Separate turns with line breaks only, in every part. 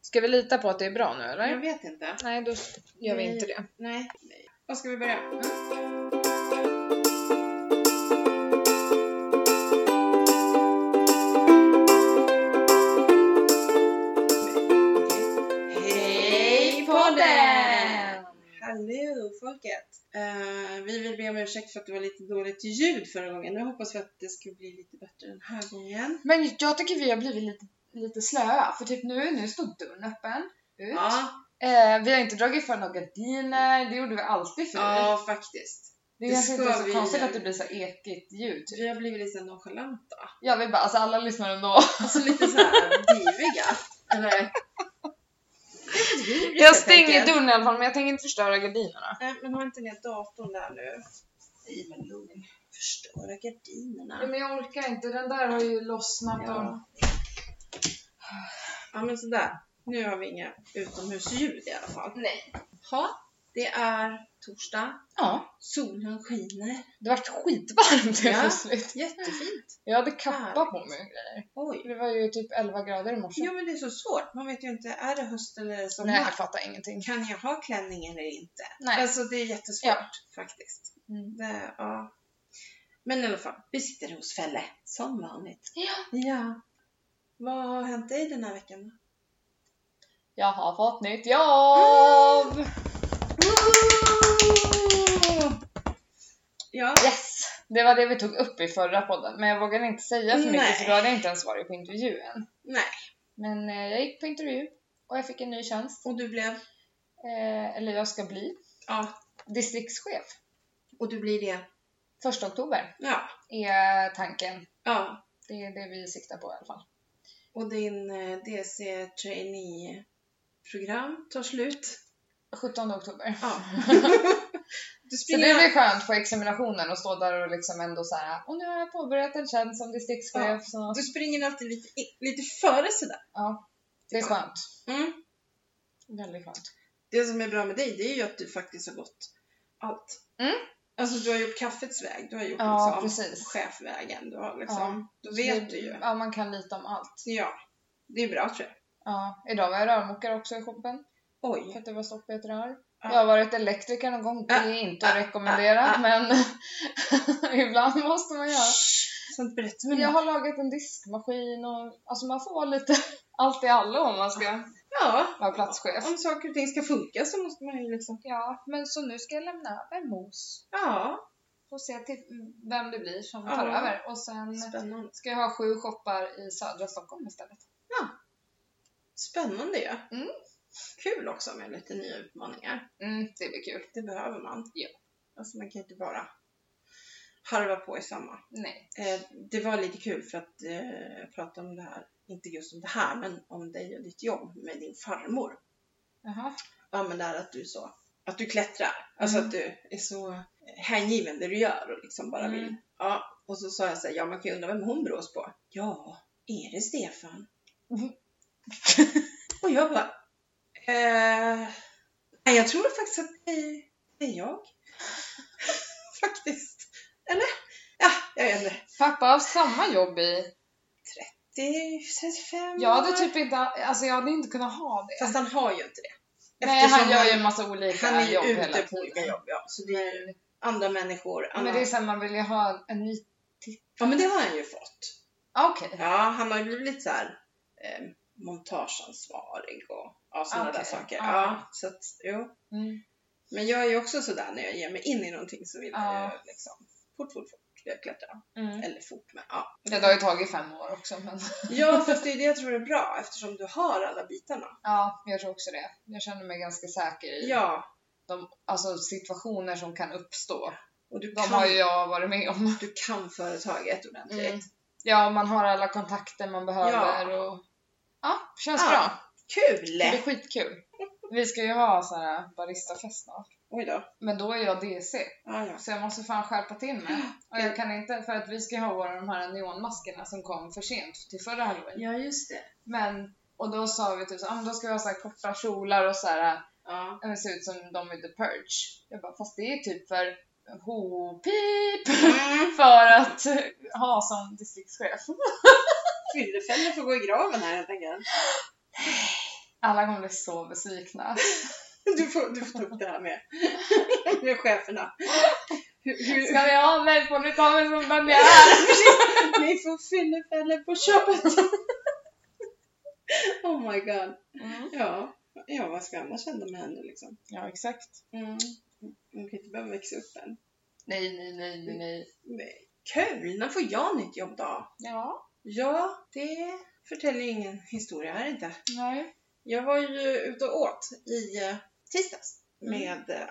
Ska vi lita på att det är bra nu eller?
Jag vet inte.
Mm. Nej, då gör vi
Nej.
inte det.
Nej. Vad ska vi börja? Mm. Hej podden! Hallå folket! Eh, vi vill be om ursäkt för att det var lite dåligt ljud förra gången. Nu hoppas vi att det ska bli lite bättre den här gången.
Men jag tycker vi har blivit lite, lite slöa, för typ nu, nu står dörren öppen. Ut.
Ja,
Eh, vi har inte dragit för några gardiner, det gjorde vi alltid förr.
ja faktiskt.
det
det
kanske inte är
ska
så
vi
konstigt
göra.
att det blir så ekigt ljud. Typ.
Vi har blivit lite så här nonchalanta.
Jag vill bara, alltså alla lyssnar ändå.
Alltså lite så här diviga. Eller? Diviga,
Jag
helt
stänger
enkelt.
dörren i alla fall, men jag tänker inte förstöra gardinerna.
Nej, men har inte ner datorn där nu? Nej, men lugn. Förstöra gardinerna.
men jag orkar inte, den där har ju lossnat
Ja. Ja, men sådär. Nu har vi inga utomhusljud i alla fall.
Nej.
Ja, det är torsdag.
Ja,
Solen skiner.
det vart skitvarmt
Ja.
helt plötsligt.
Jättefint.
Jag hade kappa
Härligt.
på mig och grejer.
Oj.
Det var ju typ 11 grader i morse.
Ja, men det är så svårt. Man vet ju inte, är det höst eller är det sommar?
Nej, jag fattar ingenting.
Kan jag ha klänning eller inte?
Nej.
Alltså det är jättesvårt
Ja.
faktiskt.
Mm.
Det, ja. Men i alla fall, vi sitter hos Felle. Som vanligt.
Ja.
Ja. Vad har hänt dig den här veckan?
Jag har fått nytt jobb!
Ja.
Yes! Det var det vi tog upp i förra podden, men jag vågade inte säga för mycket
Nej.
för då hade jag inte ens varit på intervju än.
Nej.
Men eh, jag gick på intervju och jag fick en ny tjänst.
Och du blev?
Eh, eller jag ska bli
Ja.
distriktschef.
Och du blir det?
1 oktober
Ja.
är tanken.
Ja.
Det är det vi siktar på i alla fall.
Och din eh, DC trainee-program tar slut?
17 oktober.
Ja. du
Så det
springer...
blir skönt på examinationen att stå där och liksom ändå så här. och nu har jag påbörjat en tjänst som distriktschef. Så...
Du springer alltid lite, i- lite före sådär.
Ja, det är skönt.
Mm.
Väldigt skönt.
Det som är bra med dig, det är ju att du faktiskt har gått allt.
Mm.
Alltså du har gjort kaffets väg, du har gjort
Ja,
liksom
precis.
chefvägen, du har liksom, då vet du ju.
Ja, man kan lite om allt.
Ja, det är bra tror jag.
Ja, idag var jag rörmokare också i shoppen för
Oj.
att det var stopp i ett rör.
Mm. Ja.
Jag har varit elektriker någon gång, det är inte att rekommendera
ah,
men ibland måste man göra.
Sånt berättar man
Jag
ja.
har lagat en diskmaskin och alltså man får vara lite allt i allo om man ska
ja.
vara platschef.
Om saker och ting ska funka så måste man ju liksom.
Ja, men så nu ska jag lämna över mos
Ja,
och se till vem det blir som tar
Ja.
över och sen
spännande.
ska jag ha sju shoppar i södra Stockholm istället.
Spännande ju.
Mm.
Kul också med lite nya utmaningar.
Mm, det blir kul.
Det behöver man.
Ja.
Alltså man kan ju inte bara harva på i samma.
Nej.
Eh, det var lite kul för att eh, jag pratade om det här, inte just om det här, men om dig och ditt jobb med din farmor.
Jaha.
Ja, men det här att du så, att du klättrar. Alltså
Mm.
att du är så hängiven det du gör och liksom bara
Mm.
vill. Ja, och så sa jag så här, ja man kan ju undra vem hon brås på. Ja, är det Stefan? Mm.
Mhm.
och jag bara, eh, nej jag tror faktiskt att det är, det är jag. faktiskt. Eller? Ja, jag vet inte.
Pappa har samma jobb i
Det är 35
Jag hade
år.
typ inte, alltså jag hade inte kunnat ha det.
Fast han har ju inte det.
Nej,
Eftersom
han gör ju en massa olika
han är
jobb
ju
hela
ute på
tiden.
olika jobb. Ja. Så det är ju
Men,
andra människor. Andra...
men det är såhär, man vill ju ha en ny...
Ja, men det har han ju fått.
Ah, Okej.
Ja, han har ju blivit lite så här eh, montageansvarig och ja, sådana
Okej,
där saker.
ja.
Ja, så att, jo.
Mm.
Men jag är ju också sådär när jag ger mig in i någonting så vill jag ju
Ja.
liksom fort, fort, fort. Jag klättrar.
Mm.
Eller fort men ja.
Ja, Det har ju tagit fem år också men...
Ja, fast det är det jag tror är bra eftersom du har alla bitarna.
Ja, jag tror också det. Jag känner mig ganska säker i
Ja,
de alltså, situationer som kan uppstå.
och du
De
kan,
har ju jag varit med om.
du kan företaget ordentligt.
Mm. Ja, man har alla kontakter man behöver och... Ja, känns
Ja.
bra.
Kul!
Det blir skitkul. Vi ska ju ha så här baristafest snart.
Oj då.
Men då är jag DC.
Ja, ja.
Så jag måste fan skärpa till mig. Och jag kan inte, för att vi ska ju ha våra de här neonmaskerna som kom för sent till förra halloween.
Ja, just det.
Men, och då sa vi typ så, ah, men då ska vi ha så här korta kjolar och så här,
Ja.
äh, se ut som de i The Purge. Jag bara, fast det är typ för ho-pip! För att ha som distriktschef.
Fyllefällor får gå i graven här helt enkelt.
alla gånger är så besvikna.
Du får, du får ta upp det här med, med cheferna. Hur, hur,
Ska vi ha mig får ni ta mig som den jag är!
ni får fyllefällor på köpet. oh my god.
Mm.
Ja, ja vad ska jag annars hända med henne liksom?
Ja, exakt.
Mm. Hon kan inte behöva växa upp än.
Nej, nej, nej, nej, nej.
Nej. Kul! När får jag nytt jobb då?
Ja,
Ja, det förtäljer ju ingen historia här inte.
nej.
Jag var ju ute och åt i eh, tisdags
Mm.
med, eh,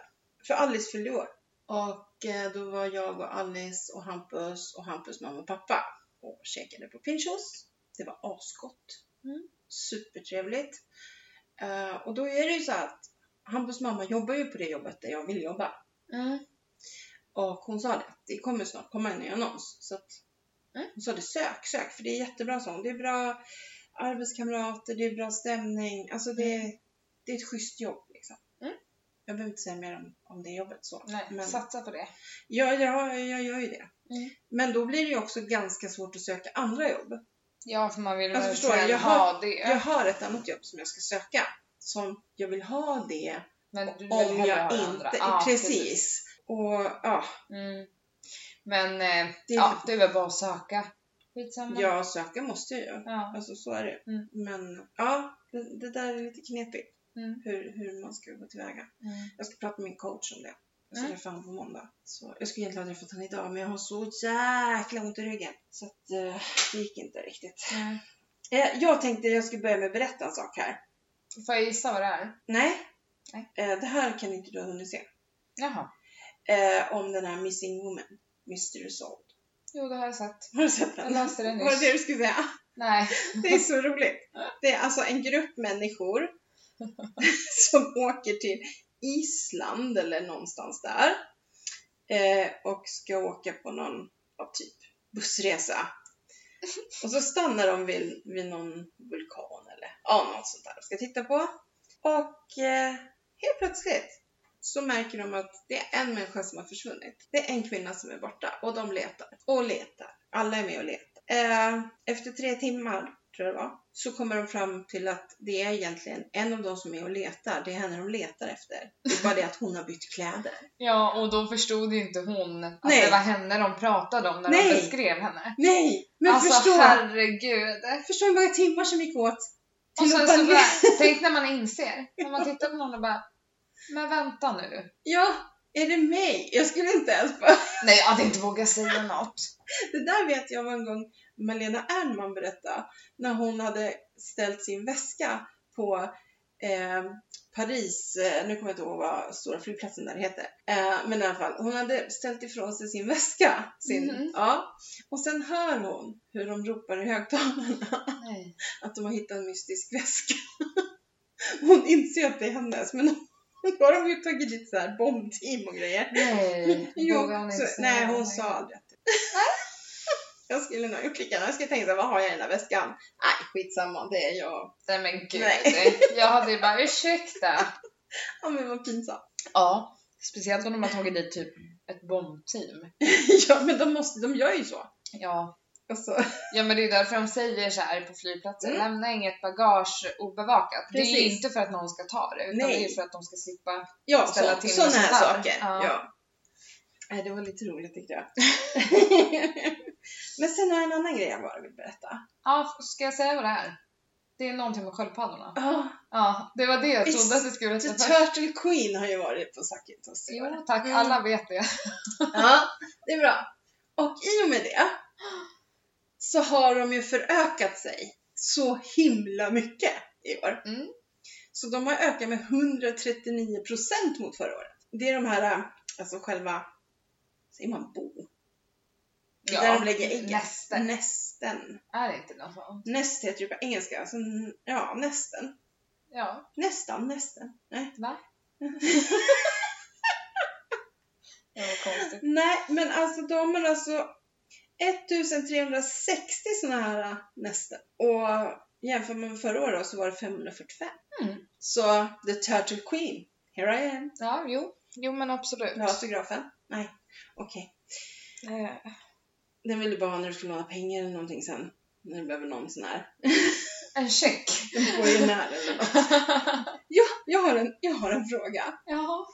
för Alice fyllde år. Och eh, då var jag och Alice och Hampus och Hampus mamma och pappa och käkade på Pinchos. Det var asgott.
Mm.
Supertrevligt. Eh, Och då är det ju så att Hampus mamma jobbar ju på det jobbet där jag vill jobba.
Mm.
Och hon sa det, att det kommer snart komma en ny annons. Så att
Mm.
hon sa det, sök, sök, för det är jättebra sånt. Det är bra arbetskamrater, det är bra stämning. Alltså det, det är ett schysst jobb liksom.
Mm.
Jag behöver inte säga mer om, om det jobbet så.
Nej,
Men,
satsa på det.
ja, ja, jag gör ju det.
Mm.
Men då blir det ju också ganska svårt att söka andra jobb.
Ja, för man vill
Alltså,
väl
förstår du?
själv
Jag har-
ha det.
Jag har ett annat jobb som jag ska söka. Som jag vill ha det
men du vill
om
hellre ha
jag
det
inte...
andra. Ja,
precis. Och ja,
Mm. Men eh,
det,
ja, det är väl bara att söka. Skitsamma.
jag söka måste jag ju.
Ja.
Alltså så är det.
Mm.
Men ja, det, det där är lite knepigt.
Mm.
Hur, hur man ska gå tillväga.
Mm.
Jag ska prata med min coach om det. Jag ska
Mm.
träffa honom på måndag. Så jag skulle egentligen ha träffat honom idag men jag har så jäkla ont i ryggen. Så att, eh, det gick inte riktigt.
Mm.
Eh, jag tänkte jag skulle börja med att berätta en sak här.
Får jag gissa vad det är?
Nej.
Nej.
Eh, det här kan inte du ha hunnit se.
Jaha.
Eh, om den här Missing Woman. Mystery Solved.
Jo, det har jag sett.
Har du sett
Jag
den?
läste det
Var det
nyss.
det du skulle säga?
Nej.
Det är så roligt. Det är alltså en grupp människor som åker till Island eller någonstans där eh, och ska åka på någon ja, typ bussresa. Och så stannar de vid, vid någon vulkan eller ja, något sånt där de ska titta på. Och eh, helt plötsligt så märker de att det är en människa som har försvunnit. Det är en kvinna som är borta och de letar och letar. Alla är med och letar. Eh, efter tre timmar, tror jag det var, så kommer de fram till att det är egentligen en av de som är och letar, det är henne de letar efter. Det är bara det att hon har bytt kläder.
Ja, och då förstod ju inte hon att
Nej.
det var henne de pratade om när
Nej.
de beskrev henne.
Nej! Men
alltså
förstå!
herregud.
Förstå hur många timmar som gick åt
Och
till
sen
att
så
bara...
bara, tänk när man inser. När man tittar på någon och bara, men vänta nu.
Ja, är det mig? Jag skulle inte ens bara...
Nej, jag hade inte vågat säga något.
Det där vet jag var en gång Malena Ernman berättade, när hon hade ställt sin väska på eh, Paris, eh, nu kommer jag inte ihåg vad stora flygplatsen där heter, eh, men i alla fall, hon hade ställt ifrån sig sin väska. Sin,
Mhm.
ja, och sen hör hon hur de ropar i högtalarna
Nej.
att de har hittat en mystisk väska. Hon inser ju att det är hennes, men då har de ju tagit dit så här bombteam och grejer.
Nej.
Jo,
vågar hon inte
så,
säga
nej hon
någonting.
sa aldrig att det. Jag skulle nog gjort likadant. Jag skulle tänka såhär, vad har jag i den där väskan? Nej, skitsamma, det är jag.
Nej men gud.
Nej.
Jag hade ju bara, ursäkta.
Ja men vad pinsamt.
Ja. Speciellt om de har tagit dit typ ett bombteam.
ja men de måste, de gör ju så.
Ja.
Alltså,
ja, men det är därför de säger så här på flygplatsen.
Mm.
Lämna inget bagage obevakat. Det är ju
Precis.
inte för att någon ska ta det, utan
Nej.
det är för att de ska slippa.
ja,
Ställa
så,
till med
sådana
sånt
här
där.
saker.
Ja.
Ja. Nej, det var lite roligt tyckte jag. men sen har jag en annan grej jag bara vill berätta.
Ja, ska jag säga vad det är? Det är någonting med sköldpaddorna.
Oh,
Ja, det var det jag
Visst.
trodde att du skulle
The
berätta för.
Turtle Queen har ju varit på Sakitos i år.
Jo tack,
Mm.
alla vet det.
Ja, det är bra. Och i och med det så har de ju förökat sig så himla mycket i år.
Mm.
Så de har ökat med 139 procent mot förra året. Det är de här, äh, alltså själva, säger man bo? Där de lägger äggen.
Nästen.
Nästen.
Är det inte något sånt?
Näst heter ju på engelska, alltså, n- ja, nästen.
Ja.
Nästan, nästen. Nej.
Va? Det var konstigt.
Nej, men alltså de har alltså 1360 sådana här äh, nästen. Och jämför man med förra året då, så var det 545.
Mm.
Så the Turtle Queen, here I am.
Ja, jo. Jo men absolut.
Vill du ha autografen? Nej, okej.
Eh,
Den vill du bara ha när du ska låna pengar eller någonting sen. När du behöver någon sån här.
En check.
En borgenär eller något. Ja, jag har en, jag har en fråga.
Jaha.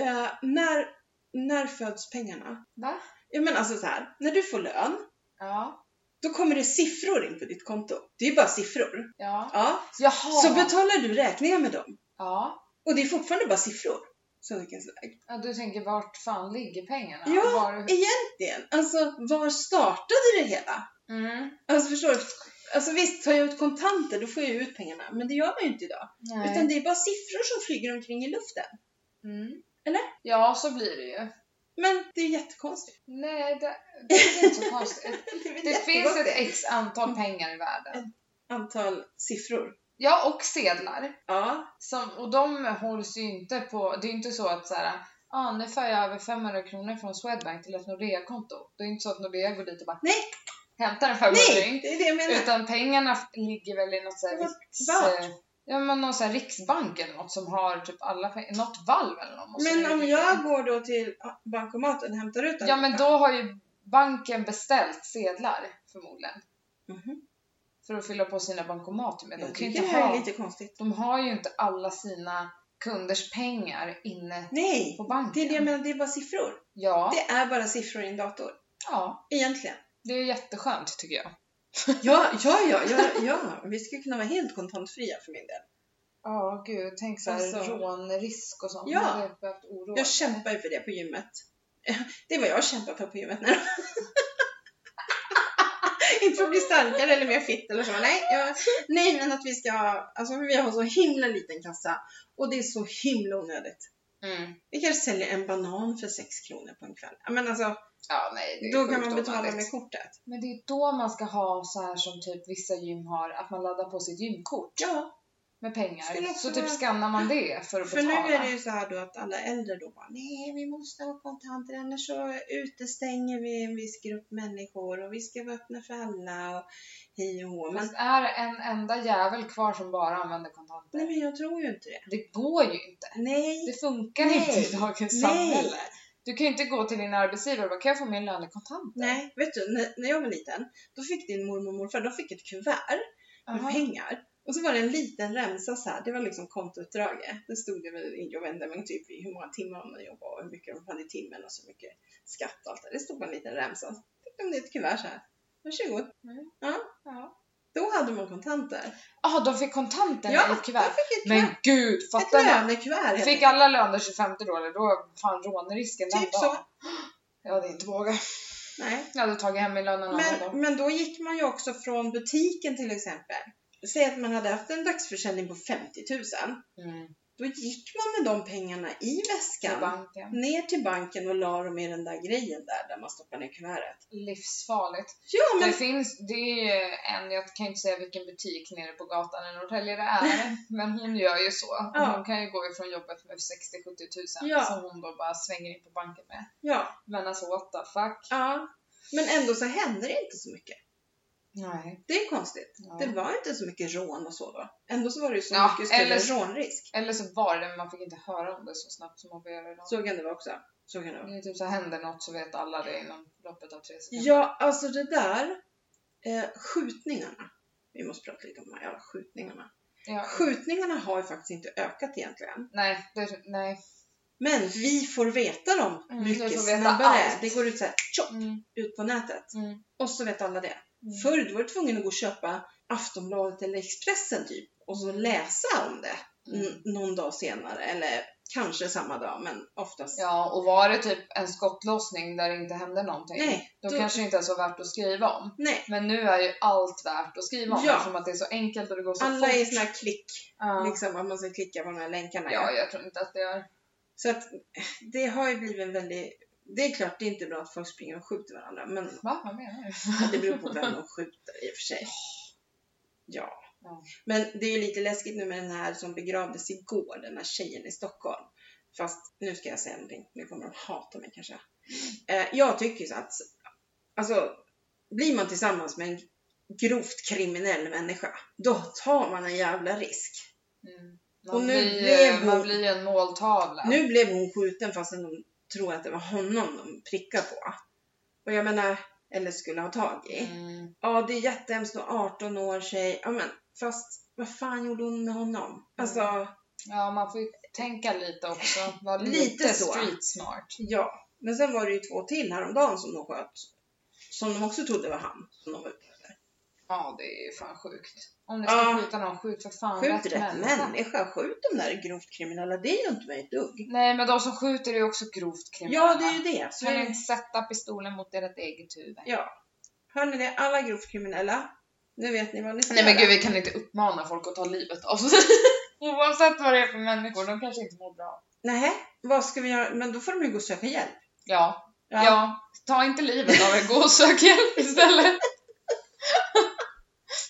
Eh, när, när föds pengarna?
Va?
Ja men alltså så här, när du får lön,
Ja.
då kommer det siffror in på ditt konto. Det är ju bara siffror.
Ja.
Ja.
Jaha.
Så betalar du räkningar med dem.
ja.
Och det är fortfarande bara siffror. Så vilken väg.
ja. Du tänker vart fan ligger pengarna?
Ja.
Var...
Egentligen, alltså var startade det hela?
Mm.
Alltså förstår du? Alltså visst, tar jag ut kontanter då får jag ju ut pengarna, men det gör man ju inte idag.
Nej.
Utan det är bara siffror som flyger omkring i luften.
Mm.
Eller?
Ja, så blir det ju.
Men det är jättekonstigt.
Nej, det, det är inte så konstigt. Det finns ett x antal pengar i
Mm.
världen.
antal siffror.
Ja, och sedlar.
Ja.
Som, och de hålls ju inte på, det är ju inte så att såhär, ah, nu för jag över 500 kronor från Swedbank till ett Nordea-konto. Det är inte så att Nordea går dit och bara
Nej.
hämtar en
Nej,
femhundring.
det är det jag menar.
Utan pengarna ligger väl i något såhär
Det var
riks...
vart?
eh, Ja men någon sån här riksbank eller något som har typ alla pengar, något valv eller något. måste
Men
det
om
ligga.
jag går då till bankomaten och hämtar ut den.
Ja men då har ju banken beställt sedlar förmodligen.
Mhm.
För att fylla på sina bankomater med. De
Jag
kan ju
tycker
inte
det här är
ha,
lite konstigt.
de har ju inte alla sina kunders pengar inne
Nej,
på banken.
det är det jag menar. Det är bara siffror.
Ja,
Det är bara siffror i en dator.
ja,
Egentligen.
det är jätteskönt tycker jag.
Ja, ja, ja, ja, ja. Vi skulle kunna vara helt kontantfria för min del.
Ja, gud, tänk såhär
Alltså.
rånrisk och sånt.
Ja.
Man hade behövt oroa
Jag
sig.
kämpar ju för det på gymmet. Det är vad jag kämpar för på gymmet nu. Inte för att bli starkare eller mer fit eller så. Nej, jag, nej men att vi ska, alltså vi har så himla liten kassa och det är så himla onödigt.
Mm.
Vi kanske säljer en banan för 6 kronor på en kväll. Ja, Men alltså,
Ja, nej, det är
då kan
sjukt
man betala
onödigt.
med kortet.
Men det är då man ska ha så här som typ vissa gym har, att man laddar på sitt gymkort
Ja,
med pengar.
Skulle
Så
också
typ
vara-
skannar man det för att
för nu
betala.
är det ju så här då att alla äldre då bara, nej vi måste ha kontanter annars så utestänger vi en viss grupp människor och vi ska vara öppna för alla och hej och hå. Men
Fast är det en enda jävel kvar som bara använder kontanter?
Nej men jag tror ju inte det.
Det går ju inte.
Nej.
Det funkar
Nej.
inte i dagens
Nej.
samhälle. Du kan ju inte gå till din arbetsgivare och bara, kan jag få min lön i kontanter?
Nej, vet du när, när jag var liten, då fick din mormor och morfar, de fick ett kuvert med
Jaha.
pengar. Och så var det en liten remsa så här, det var liksom kontoutdraget. Det stod det väl, jag vet inte, men typ i hur många timmar de jobbade och hur mycket de hade i timmen och så mycket skatt och allt det där. Det stod bara en liten remsa. Så fick de det i ett kuvert så här. Varsågod.
Mm. Ja.
Då hade man kontanter.
Ah, de fick kontanter i ett
de
kuvert?
fick ett kuvert.
Men gud,
ett
fattar ni?
lönekuvert.
Fick alla lön den 25 då eller då fan rånrisken den
Typ
dagen.
så.
Jag hade inte vågat.
Nej.
Jag hade tagit hem min lön en annan dag.
Men, men då gick man ju också från butiken till exempel. Säg att man hade haft en dagsförsäljning på 50 000.
Mm.
Då gick man med de pengarna i
Till
väskan
banken.
ner till banken och la dem i den där grejen där, där man stoppar ner kuvertet.
Livsfarligt.
Ja, men
Det finns, det är ju en, jag kan inte säga vilken butik nere på gatan i Norrtälje det är, men hon gör ju så.
Ja.
Hon kan ju gå ifrån jobbet med 60-70 tusen
Ja.
som hon då bara svänger in på banken med.
ja,
Men alltså what the fuck?
ja. Men ändå så hände det inte så mycket.
Nej.
Det är konstigt.
Ja.
Det var inte så mycket rån och så då. Ändå så var det ju så
Ja,
mycket större
eller-
rånrisk.
Eller så var det, men man fick inte höra om det så snabbt som man får göra idag.
Så kan det vara också. Så kan det vara.
Det är typ så här, händer något så vet alla det inom loppet av tre sekunder.
Ja, alltså det där. Eh, skjutningarna. Vi måste prata lite om de här jävla skjutningarna.
Ja.
Skjutningarna har ju faktiskt inte ökat egentligen.
Nej, det, nej.
Men vi får veta dem
Mm, vi
mycket
får veta
snabbare.
allt.
Det går ut så här, tjopp,
Mm,
ut på nätet.
mm,
Och så vet alla det.
mm.
Förr då var du tvungen att gå och köpa Aftonbladet eller Expressen typ och så läsa om det n- någon dag senare eller kanske samma dag men oftast.
Ja, och var det typ en skottlossning där det inte hände någonting,
Nej,
då,
då-
kanske det inte ens var värt att skriva om.
Nej,
Men nu är ju allt värt att skriva om
Ja.
eftersom att det är så enkelt och det går så
alla
fort.
är såna här klick,
ja.
liksom att man ska klicka på de här länkarna.
ja, jag tror inte att det är...
Så att det har ju blivit en väldigt det är klart det är inte bra att folk springer och skjuter varandra men
Va? Vad menar du?
Det beror på vem de skjuter i och för sig. Ja.
Ja.
Men det är ju lite läskigt nu med den här som begravdes igår, den här tjejen i Stockholm. Fast nu ska jag säga någonting, nu kommer de hata mig kanske. Eh, jag tycker ju så att, alltså, blir man tillsammans med en grovt kriminell människa, då tar man en jävla risk.
Mm. Man,
Och nu
blir,
blev
man
hon-
blir ju en måltavla.
Nu blev hon skjuten fastän de tror att det var honom de prickar på. Och jag menar, eller skulle ha tag i.
Mm.
Ja, det är jättehemskt och 18 år tjej. Ja, men Fast vad fan gjorde hon med honom? Alltså,
Mm. Ja, man får ju tänka lite också. Vara lite,
Lite så.
street smart.
ja. Men sen var det ju två till häromdagen som de sköt. Som de också trodde var han. Som de var ute efter.
Ja, det är ju fan sjukt. Om ni ska
Ja.
skjuta någon, skjut för fan
Skjut rätt
människa.
människa. Skjut de där grovt kriminella. Det gör inte mig ett dugg.
Nej, men de som skjuter är ju också grovt kriminella.
Ja, det är ju det. Så
Kan
det-
ni inte sätta pistolen mot ert eget huvud?
Ja. Hör ni det? Alla grovt kriminella. Nu vet ni vad ni ska
Nej men
göra.
gud, vi kan inte uppmana folk att ta livet av sig. Oavsett vad det är för människor, de kanske inte mår bra.
Nej, vad ska vi göra? Men då får de ju gå och söka hjälp.
Ja, ja. ta inte livet av er, gå och sök hjälp istället.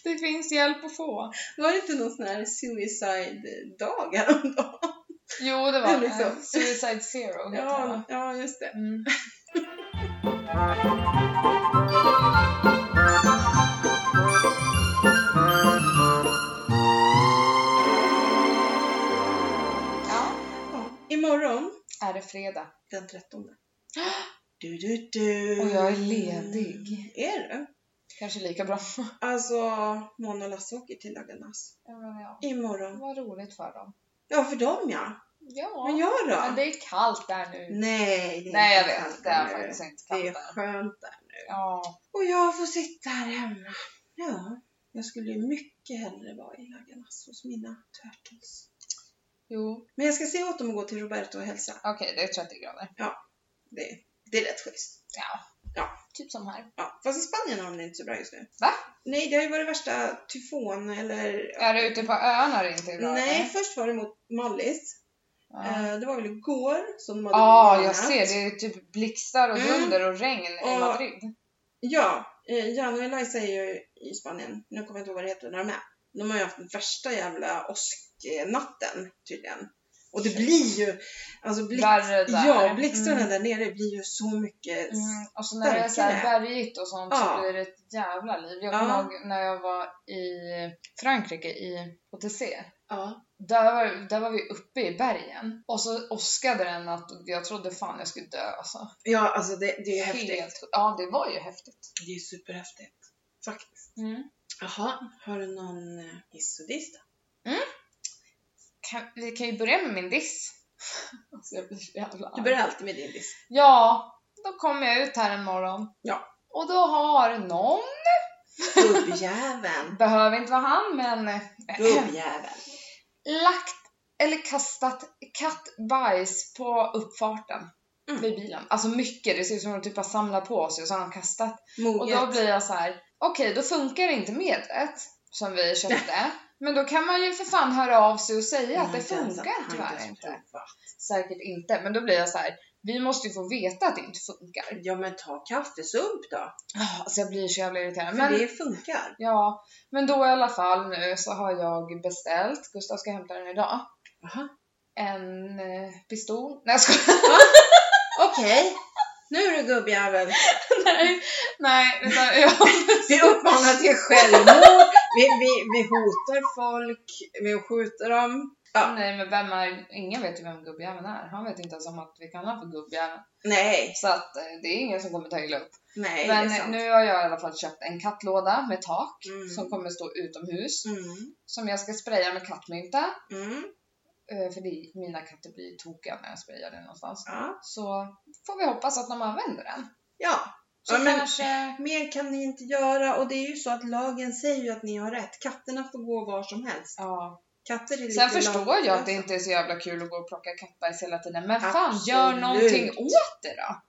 det finns hjälp att få.
Var det inte någon sån här suicide-dag häromdagen?
Jo, det
Det
var
är liksom-
eh, Suicide Zero heter det, va?
Ja, ja, just det.
Mm. Ja,
Ja. Imorgon,
är det fredag
den 13. Du, du, du.
och jag är ledig.
Är du?
Kanske lika bra.
Alltså, Mona och Lasse åker till Laganas.
Ja, men ja.
Imorgon.
Vad roligt för dem.
Ja, för dem ja.
Ja,
Men jag då?
men det är kallt där nu.
Nej, det är
Nej, jag
inte
vet.
kallt
Det är
nu.
faktiskt inte
Det
kallt
är
där.
skönt där.
Ja,
Och jag får sitta här hemma. Ja, jag skulle ju mycket hellre vara i Laganas hos mina turtles.
jo.
Men jag ska se åt dem att gå till Roberto och hälsa.
Okej, det är 30 grader.
Det, det är rätt schysst.
Typ som här.
Ja, fast i Spanien har de det inte så bra just nu.
Va?
Nej, det har ju varit värsta tyfon eller...
Är det ute på öarna det inte är bra?
Nej,
eller?
först var det mot Mallis.
Ja,
Eh, Det var väl igår som de hade
ah, jag
varnat.
ser. Det är typ blixtar och
Mm.
dunder och regn i
Och-
Madrid.
Ja, eh, Jan och Eliza är ju i Spanien. Nu kommer jag inte ihåg vad det heter när de är. De har ju haft den värsta jävla åsknatten tydligen. Och det blir ju, alltså blixt,
Värre där.
ja, blixtarna
Mm.
där nere blir ju så mycket
Mm, och så när det är så här bergigt och sånt så
Ja.
blir det ett jävla liv. Jag
Ja.
kommer ihåg när jag var i Frankrike i HTC.
Ja.
Där var, där var vi uppe i bergen och så åskade den att jag trodde fan jag skulle dö alltså.
ja, alltså det, det är ju häftigt.
Helt, ja, det var ju häftigt.
Det är superhäftigt. Faktiskt.
Mm.
Jaha, har du någon eh, hiss och diss då?
Kan, vi kan ju börja med min diss. alltså jag blir så jävla
Du
arg.
börjar alltid med din diss.
Ja, då kom jag ut här en morgon.
Ja.
Och då har någon,
Gubbjäveln.
behöver inte vara han, men eh,
Gubbjäveln.
lagt eller kastat kattbajs på uppfarten
Mm.
vid bilen. Alltså mycket, det ser ut som att de typ har samlat på sig och så har de kastat. Och
Moget.
då blir jag så här: okej då funkar inte medlet som vi köpte. Men då kan man ju för fan höra av sig och säga
Eh,
att det funkar tyvärr inte. Säkert inte, men då blir jag så här: vi måste ju få veta att det inte funkar.
Ja men ta kaffesump då.
Ah, Alltså jag blir så jävla irriterad.
För
Men
det funkar.
Ja, men då i alla fall nu så har jag beställt, Gustav ska hämta den idag,
Jaha.
en eh, pistol. Nej jag skojar!
Okej. Nu är du gubbjäveln.
Nej, nej utan jag,
Vi uppmanar till självmord. Vi, vi, vi hotar folk. Vi skjuter dem. Ja.
nej men eh, vem är, ingen vet ju vem gubbjäveln är. Han vet inte ens om att vi kallar honom för gubbjäveln.
Nej.
Så att eh, det är ingen som kommer ta illa upp.
Nej,
men eh,
det är sant.
nu har jag i alla fall köpt en kattlåda med tak
Mm.
som kommer stå utomhus.
Mm.
Som jag ska spraya med kattmynta.
Mm.
eh, För det, mina katter blir tokiga när jag sprayar den någonstans.
Ja.
Så får vi hoppas att de använder den.
ja.
Så
Ja, men-
kanske...
Mer kan ni inte göra och det är ju så att lagen säger ju att ni har rätt. Katterna får gå var som helst.
Ja,
Katter är lite alltså.
Sen förstår jag att det inte är så jävla kul att gå och plocka kattbajs hela tiden, men fan gör
Absolut.
någonting åt det då!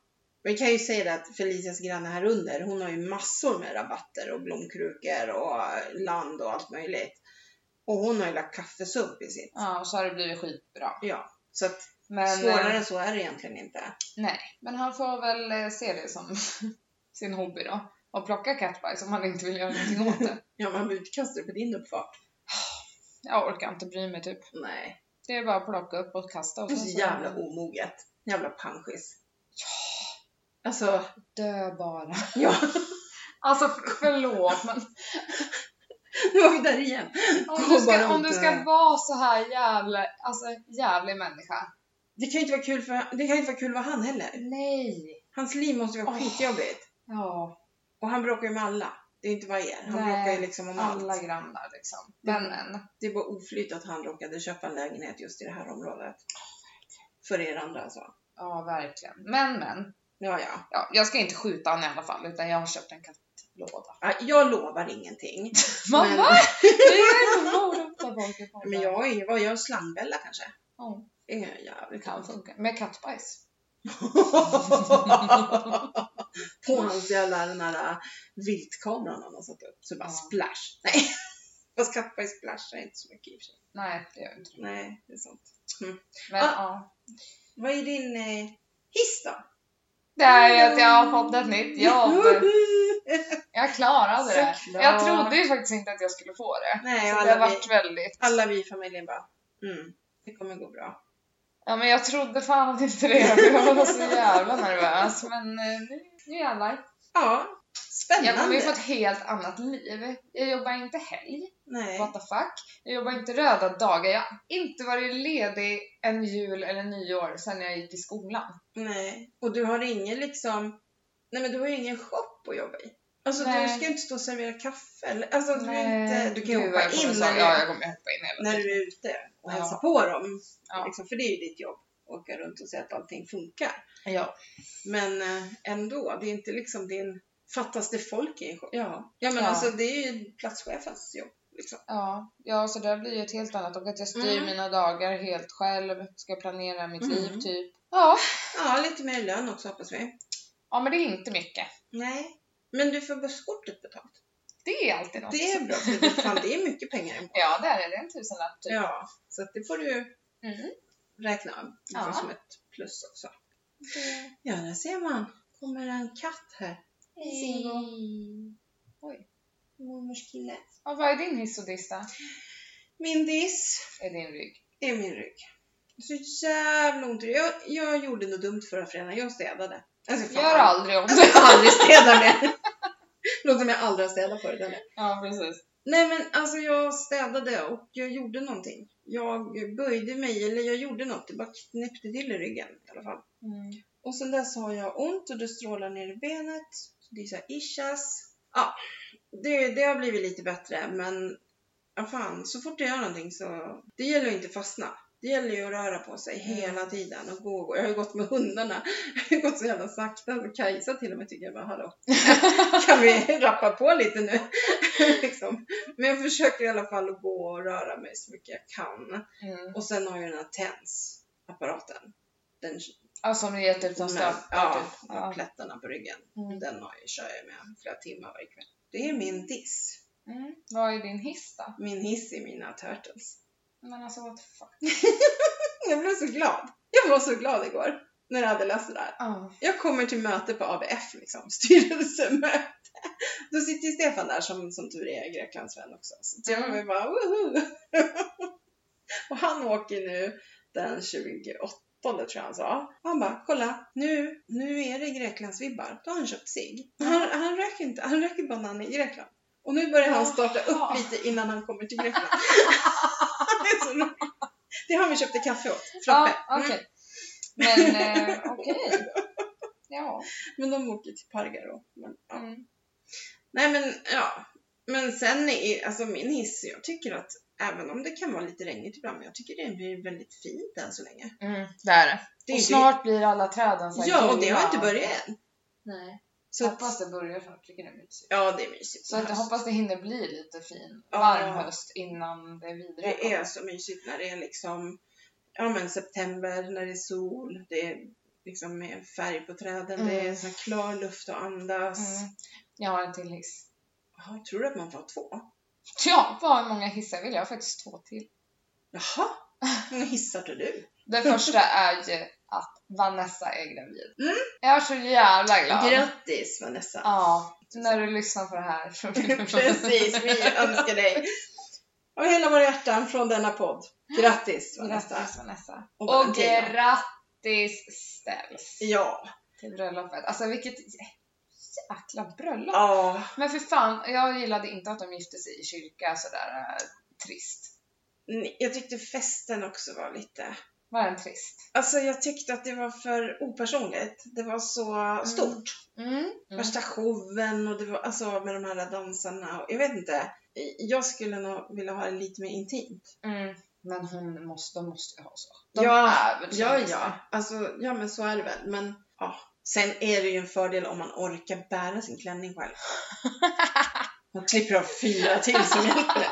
Vi kan ju säga det att Felicias granne här under, hon har ju massor med rabatter och blomkrukor och land och allt möjligt. Och hon har ju lagt kaffesump i sitt.
Ja, så har det blivit skitbra.
Ja, så att
Men,
svårare
eh,
än så är det egentligen inte.
Nej, men han får väl eh, se det som sin hobby då. Och plocka kattbajs om han inte vill göra någonting åt det.
Ja, man blir utkastad på din uppfart.
Jag orkar inte bry mig typ.
Nej,
Det är bara att plocka upp och kasta och
det är
sen
så jävla omoget. Jävla panschis. Ja! Alltså,
Dö bara.
ja,
Alltså förlåt men
nu var vi där igen.
om
Gå
du ska,
bara
om du
och
ska
dö.
vara så här jävla, alltså jävlig människa.
Det kan ju inte vara kul för, det kan ju inte vara kul för han heller.
Nej!
Hans liv måste ju vara
Åh.
skitjobbigt.
Ja.
Och han bråkar ju med alla. Det är inte bara er. Han
Nej,
bråkar ju liksom om allt.
Alla grannar liksom. Men men.
Det var oflyt att han råkade köpa en lägenhet just i det här området. För er andra alltså.
Ja, verkligen. Men men.
Ja, ja.
Ja, jag ska inte skjuta honom i alla fall utan jag har köpt en kattlåda.
Ja, Jag lovar ingenting.
Mamma!
Men-
Du är så morot där bak i podden.
Men jag är ju, vad gör jag? Slangbella kanske?
Ja,
Det är jag
det
jävligt
kan funka. Med kattbajs.
På hans jävla den här äh, viltkameran han har satt upp. Så bara
Ja.
splash. Nej. Fast kattbajs splashar inte så mycket i och för sig.
Nej, det gör jag inte.
Nej, det är sant.
Men
Ah.
ja.
Vad är din eh, hiss då?
Det är ju att jag har fått ett nytt jobb. Jag klarade det.
Såklart.
Jag trodde ju faktiskt inte att jag skulle få det.
Nej, och
Så det har
alla, vi,
varit väldigt...
alla vi i familjen bara, mm, det kommer gå bra.
Ja men jag trodde fan inte det. för Jag var så jävla nervös. Men eh, nu, nu jävlar.
Ja, spännande.
Jag kommer ju få ett helt annat liv. Jag jobbar inte helg.
Nej.
What the fuck? Jag jobbar inte röda dagar. Jag har inte varit ledig en jul eller nyår sedan jag gick i skolan.
Nej, och du har ingen liksom, nej men du har ju ingen shop att jobba i. Alltså du
Nej.
ska ju inte stå och servera kaffe eller, alltså du, är
Nej,
inte, du kan ju
gud,
hoppa
jag kommer
in
så-
när,
Ja,
du-
jag kommer hoppa in hela
när
tiden.
du är ute och
Ja.
hälsa på dem.
Ja.
Liksom, för det är ju ditt jobb, åka runt och se att allting funkar.
Ja.
Men eh, ändå, det är inte liksom din, fattas det folk i en shop? Ja, ja men
Ja.
alltså det är ju platschefens jobb. Liksom.
Ja, ja, så det blir ju ett helt annat och att jag styr
Mm.
mina dagar helt själv, ska planera mitt
Mm.
liv typ. Ja.
Ja, lite mer lön också hoppas vi.
ja, men det är inte mycket.
Nej, men du får busskortet betalt.
Det är alltid något.
Det är bra, för det, fan, det är mycket pengar.
Ja, det är det. Det är en tusenlapp typ.
Ja, så att det får du
Mm.
räkna av. Det får
Ja.
som ett plus också. Ja, där ser man. Kommer en katt här. Singo.
Oj.
Mormors kille.
Ja, vad är din hiss och diss då?
Min diss
Är din rygg?
är min rygg. Så jävla ont i ryggen. jag, jag gjorde något dumt förra fredagen. Jag städade. Alltså, fan.
Gör aldrig om
Alltså, jag
det.
har aldrig städat mer. Låter som jag aldrig har städat förut eller?
Ja, precis.
Nej men alltså jag städade och jag gjorde någonting. Jag böjde mig eller jag gjorde något. Det bara knäppte till i ryggen i alla fall.
Mm.
Och sen dess har jag ont och det strålar ner i benet. Så det är så här ischias. Ja, det, det har blivit lite bättre men ja, fan, så fort jag gör någonting så... Det gäller ju inte att fastna. Det gäller ju att röra på sig
Mm.
hela tiden och gå och gå. Jag har ju gått med hundarna. Jag har gått så jävla sakta så Kajsa till och med tycker jag bara hallå, kan vi rappa på lite nu? liksom. Men jag försöker i alla fall att gå och röra mig så mycket jag kan.
Mm.
Och sen har jag den här TENS-apparaten. Den
Ja, som det gett ut som
men,
stöp.
ja,
typ.
ja,
ja.
plättarna på ryggen.
Mm.
Den har jag, kör jag med flera timmar varje kväll. Det är min diss.
Mm. Vad är din hiss då?
Min hiss är mina turtles.
Men alltså what the fuck?
Jag blev så glad. Jag var så glad igår när jag hade läst det där.
Ja.
Jag kommer till möte på ABF, liksom, styrelsemöte. Då sitter ju Stefan där som, som tur är Greklandsvän också. Så att jag
Mm.
var bara woho! Och han åker nu den 28 tror jag han sa. Han bara, kolla nu, nu är det Greklandsvibbar. Då har han köpt sig. Han,
Mm.
han röker inte, han röker bara när han är i Grekland. Och nu börjar han starta
Jaha.
upp lite innan han kommer till Grekland. det är så roligt. Det har vi köpte kaffe åt, Frappe.
Ja, okej.
Mm.
Men eh, okej. Ja.
Men de åker till Pargaro. Men, ja.
Mm.
Nej men ja. Men sen är alltså min hiss, jag tycker att även om det kan vara lite regnigt ibland, men jag tycker det blir väldigt fint än så länge.
Mm, det är det.
Det är
och
ju-
snart blir alla träden så här
Ja, och det
gula.
har inte börjat än.
Nej.
Så att,
hoppas det börjar snart, tycker det är mysigt.
ja, det är mysigt.
Så att jag hoppas det hinner bli lite fin,
Ja.
varm höst innan det är vidare.
Det är så mysigt när det är liksom, ja men september, när det är sol, det är liksom med färg på träden, det är
Mm.
så här klar luft att andas.
Mm. Jag har en till hiss.
Jaha, tror du att man får ha två?
Ja, vad många hissar vill jag? Jag har faktiskt två till.
Jaha, hur hissar tar du?
Den första är ju att Vanessa är gravid.
Mm.
Jag är så jävla glad.
Grattis Vanessa!
Ja, när du lyssnar på det här så vill du-
Precis, vi önskar dig av hela våra hjärtan från denna podd. Grattis Vanessa!
Grattis Vanessa.
Och
Och
Valentina.
grattis Ställs
Ja,
till bröllopet. Alltså vilket jä- jäkla bröllop.
ja,
Men för fan, jag gillade inte att de gifte sig i kyrka sådär eh, trist.
Nej, jag tyckte festen också var lite,
Var den trist?
Alltså jag tyckte att det var för opersonligt. Det var så stort.
Mm. Mm.
Värsta showen och det var alltså med de här dansarna och jag vet inte. Jag skulle nog vilja ha det lite mer intimt.
Mm. Men hon måste, de måste ju ha så. De
Ja,
är väl
Ja,
kändisar.
ja. Alltså, ja men så är det väl. Men ja. Sen är det ju en fördel om man orkar bära sin klänning själv. Man klipper av fyra till som hjälper det.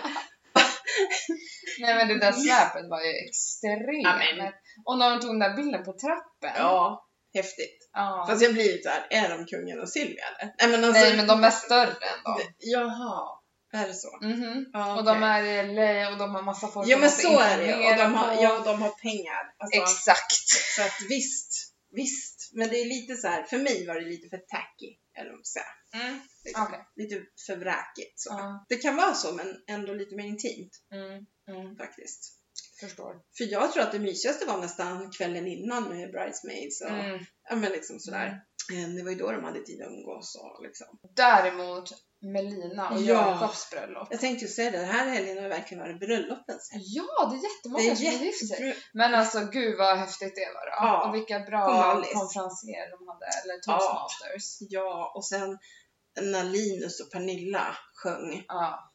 Nej men det
Mm.
där släpet var ju extremt.
Ja, men-
Och när de tog den där bilden på trappen.
Ja, häftigt.
Ja.
Fast jag blir lite såhär, är de kungen och Silvia eller? Nej men alltså.
Nej men de är större än dem.
Jaha, är det så?
Mhm.
Ja,
Och de
okej.
är i LA och de har massa folk
Ja
de
men
måste
så är det ju. Och
informera
de har,
på.
ja, de har pengar. Alltså,
Exakt.
Så att visst, visst. Men det är lite så här, för mig var det lite för tacky. Eller vad man ska säga.
Mm.
Liksom.
Okej.
Lite för vräkigt. Så.
Ja.
Det kan vara så, men ändå lite mer intimt
Mm. Mm.
faktiskt.
Förstår.
För jag tror att det mysigaste var nästan kvällen innan med Bridesmaids och
Mm.
ja, men liksom sådär. Eh, Det var ju då de hade tid att umgås och liksom.
Däremot Melina och
Ja.
Jakobs bröllop.
Jag tänkte ju säga det, den här helgen har verkligen varit bröllopens helg.
Ja, alltså, det är jättemånga
Det är
som har gift sig.
jättebra.
Men alltså gud vad häftigt det var då.
Ja.
Och vilka bra
Kom, Alice.
konferenser de hade, eller
Ja.
toastmasters.
Ja, och sen när Linus och Pernilla sjöng
Ja.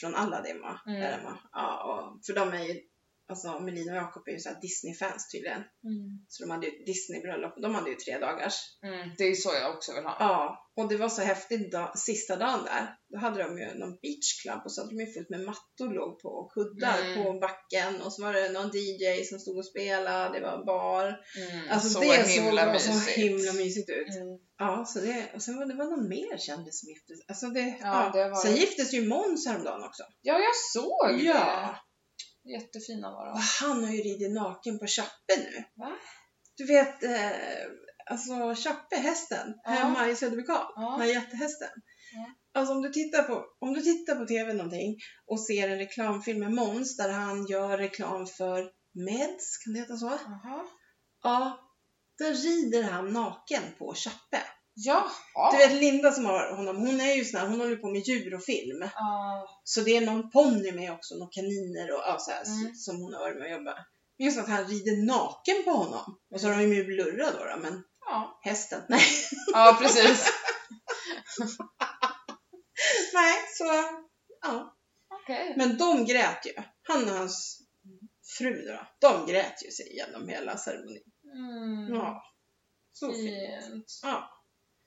från Aladdin va?
Mm.
Är det, va? Ja, och, för de är ju, alltså Melina och Jakob är ju så här Disney-fans tydligen.
Mm.
Så de hade ju ett Disney-bröllop och de hade ju tre dagars.
Mm. Det är så jag också vill ha.
Ja, och det var så häftigt da- sista dagen där. Då hade de ju någon beach club och så hade de ju fullt med mattor låg på och kuddar
Mm.
på backen och så var det någon DJ som stod och spelade, det var bar.
Mm.
Alltså
så
det
himla
såg så himla mysigt ut.
Mm.
Ja, så det, och sen var det var någon mer kändis som gifte sig. Alltså det,
Ja,
ja,
det var
Sen
det.
giftes ju Måns häromdagen också.
Ja, jag såg
Ja.
det. Jättefina var
Och
de.
han har ju ridit naken på Chappe nu.
Va?
Du vet, eh, alltså Chappe, hästen,
Ja.
hemma i Söderbykarl, den
Ja.
här jättehästen.
Ja.
Alltså om du, tittar på, om du tittar på TV någonting och ser en reklamfilm med Måns där han gör reklam för Meds, kan det heta så?
Jaha.
Ja. Där rider han naken på Chappe.
Jaha.
Du vet Linda som har honom, hon är ju sån här, hon håller på med djur och film.
Ja.
Så det är någon ponny med också, några kaniner och ja, så här,
Mm.
som hon har varit med och jobbat. Men just att han rider naken på honom. Och så har de ju Blurra då, då men
ja.
hästen, nej.
ja, precis.
nej så, ja.
Okej.
Men de grät ju. Han och hans fru då, de grät ju sig igenom hela ceremonin.
Mm.
Ja, så fint.
Fint.
Ja,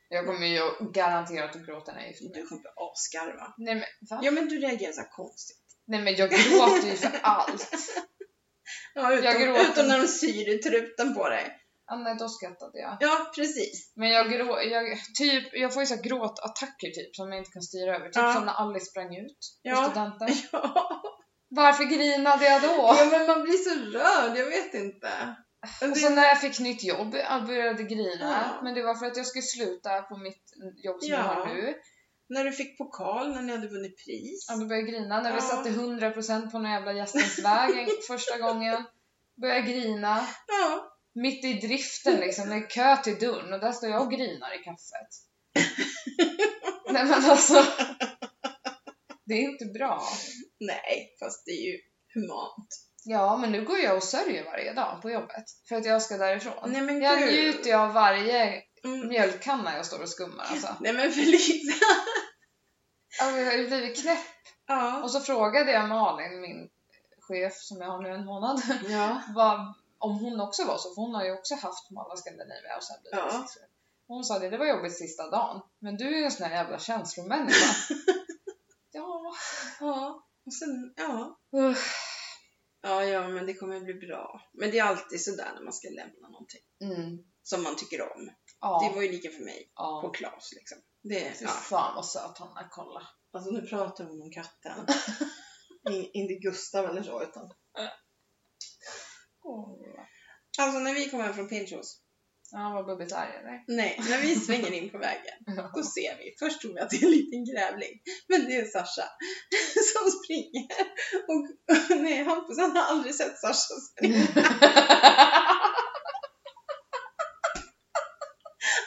Jag kommer ju garanterat att gråta när jag gifter mig.
du kommer bli asgarva.
Nej men, va?
Ja, men du reagerar så här konstigt.
Nej men jag gråter ju för allt.
Ja, utom,
Jag gråter.
utom när de syr i truten på dig.
Ja, nej då skrattade jag.
Ja, precis.
Men jag, grå, jag, typ, jag får ju så här gråtattacker typ som jag inte kan styra över. Typ
Ja.
som när Alice sprang ut på
Ja.
studenten.
Ja.
Varför grinade jag då?
Ja men man blir så rörd, jag vet inte. Men
Och
det-
sen Alltså, när jag fick nytt jobb, jag började grina.
Ja.
Men det var för att jag skulle sluta på mitt jobb som jag
Ja.
har nu.
När du fick pokal, när ni hade vunnit pris.
Ja, då började jag grina. När vi
Ja.
satte 100% på någon jävla gästens väg en- första gången. Började jag grina.
Ja.
Mitt i driften liksom, det är kö till dörren och där står jag och grinar i kaffet. Nej men alltså. Det är inte bra.
Nej, fast det är ju humant.
Ja, men nu går jag och sörjer varje dag på jobbet för att jag ska därifrån.
Nej men
jag
gud.
njuter ju av varje
Mm.
mjölkkanna jag står och skummar alltså.
Nej men Felicia.
alltså jag har ju blivit knäpp.
Ja.
Och så frågade jag Malin, min chef som jag har nu en månad,
Ja.
vad, om hon också var så, för hon har ju också haft Malla Scandinavia och sen blivit
Ja.
bisexuell. Och Hon sa det, det var jobbigt sista dagen, men du är ju en sån här jävla känslomänniska. ja.
Ja. Och sen, ja.
Uff.
Ja, ja men det kommer bli bra. Men det är alltid sådär när man ska lämna någonting.
Mm.
Som man tycker om. Det
Ja.
var ju lika för mig på
ja.
Klas liksom. Det,
Fy
ja.
fan vad söt han är, kolla.
Alltså nu pratar hon om katten. I- inte Gustav eller så utan.
Kolla.
Alltså när vi kommer hem från Pinchos.
Ja, han var bubbigt arg eller?
Nej, när vi svänger in på vägen, då ser vi. Först tror vi att det är en liten grävling, men det är Sasha som springer. Och nej, Hampus han har aldrig sett Sasha springa.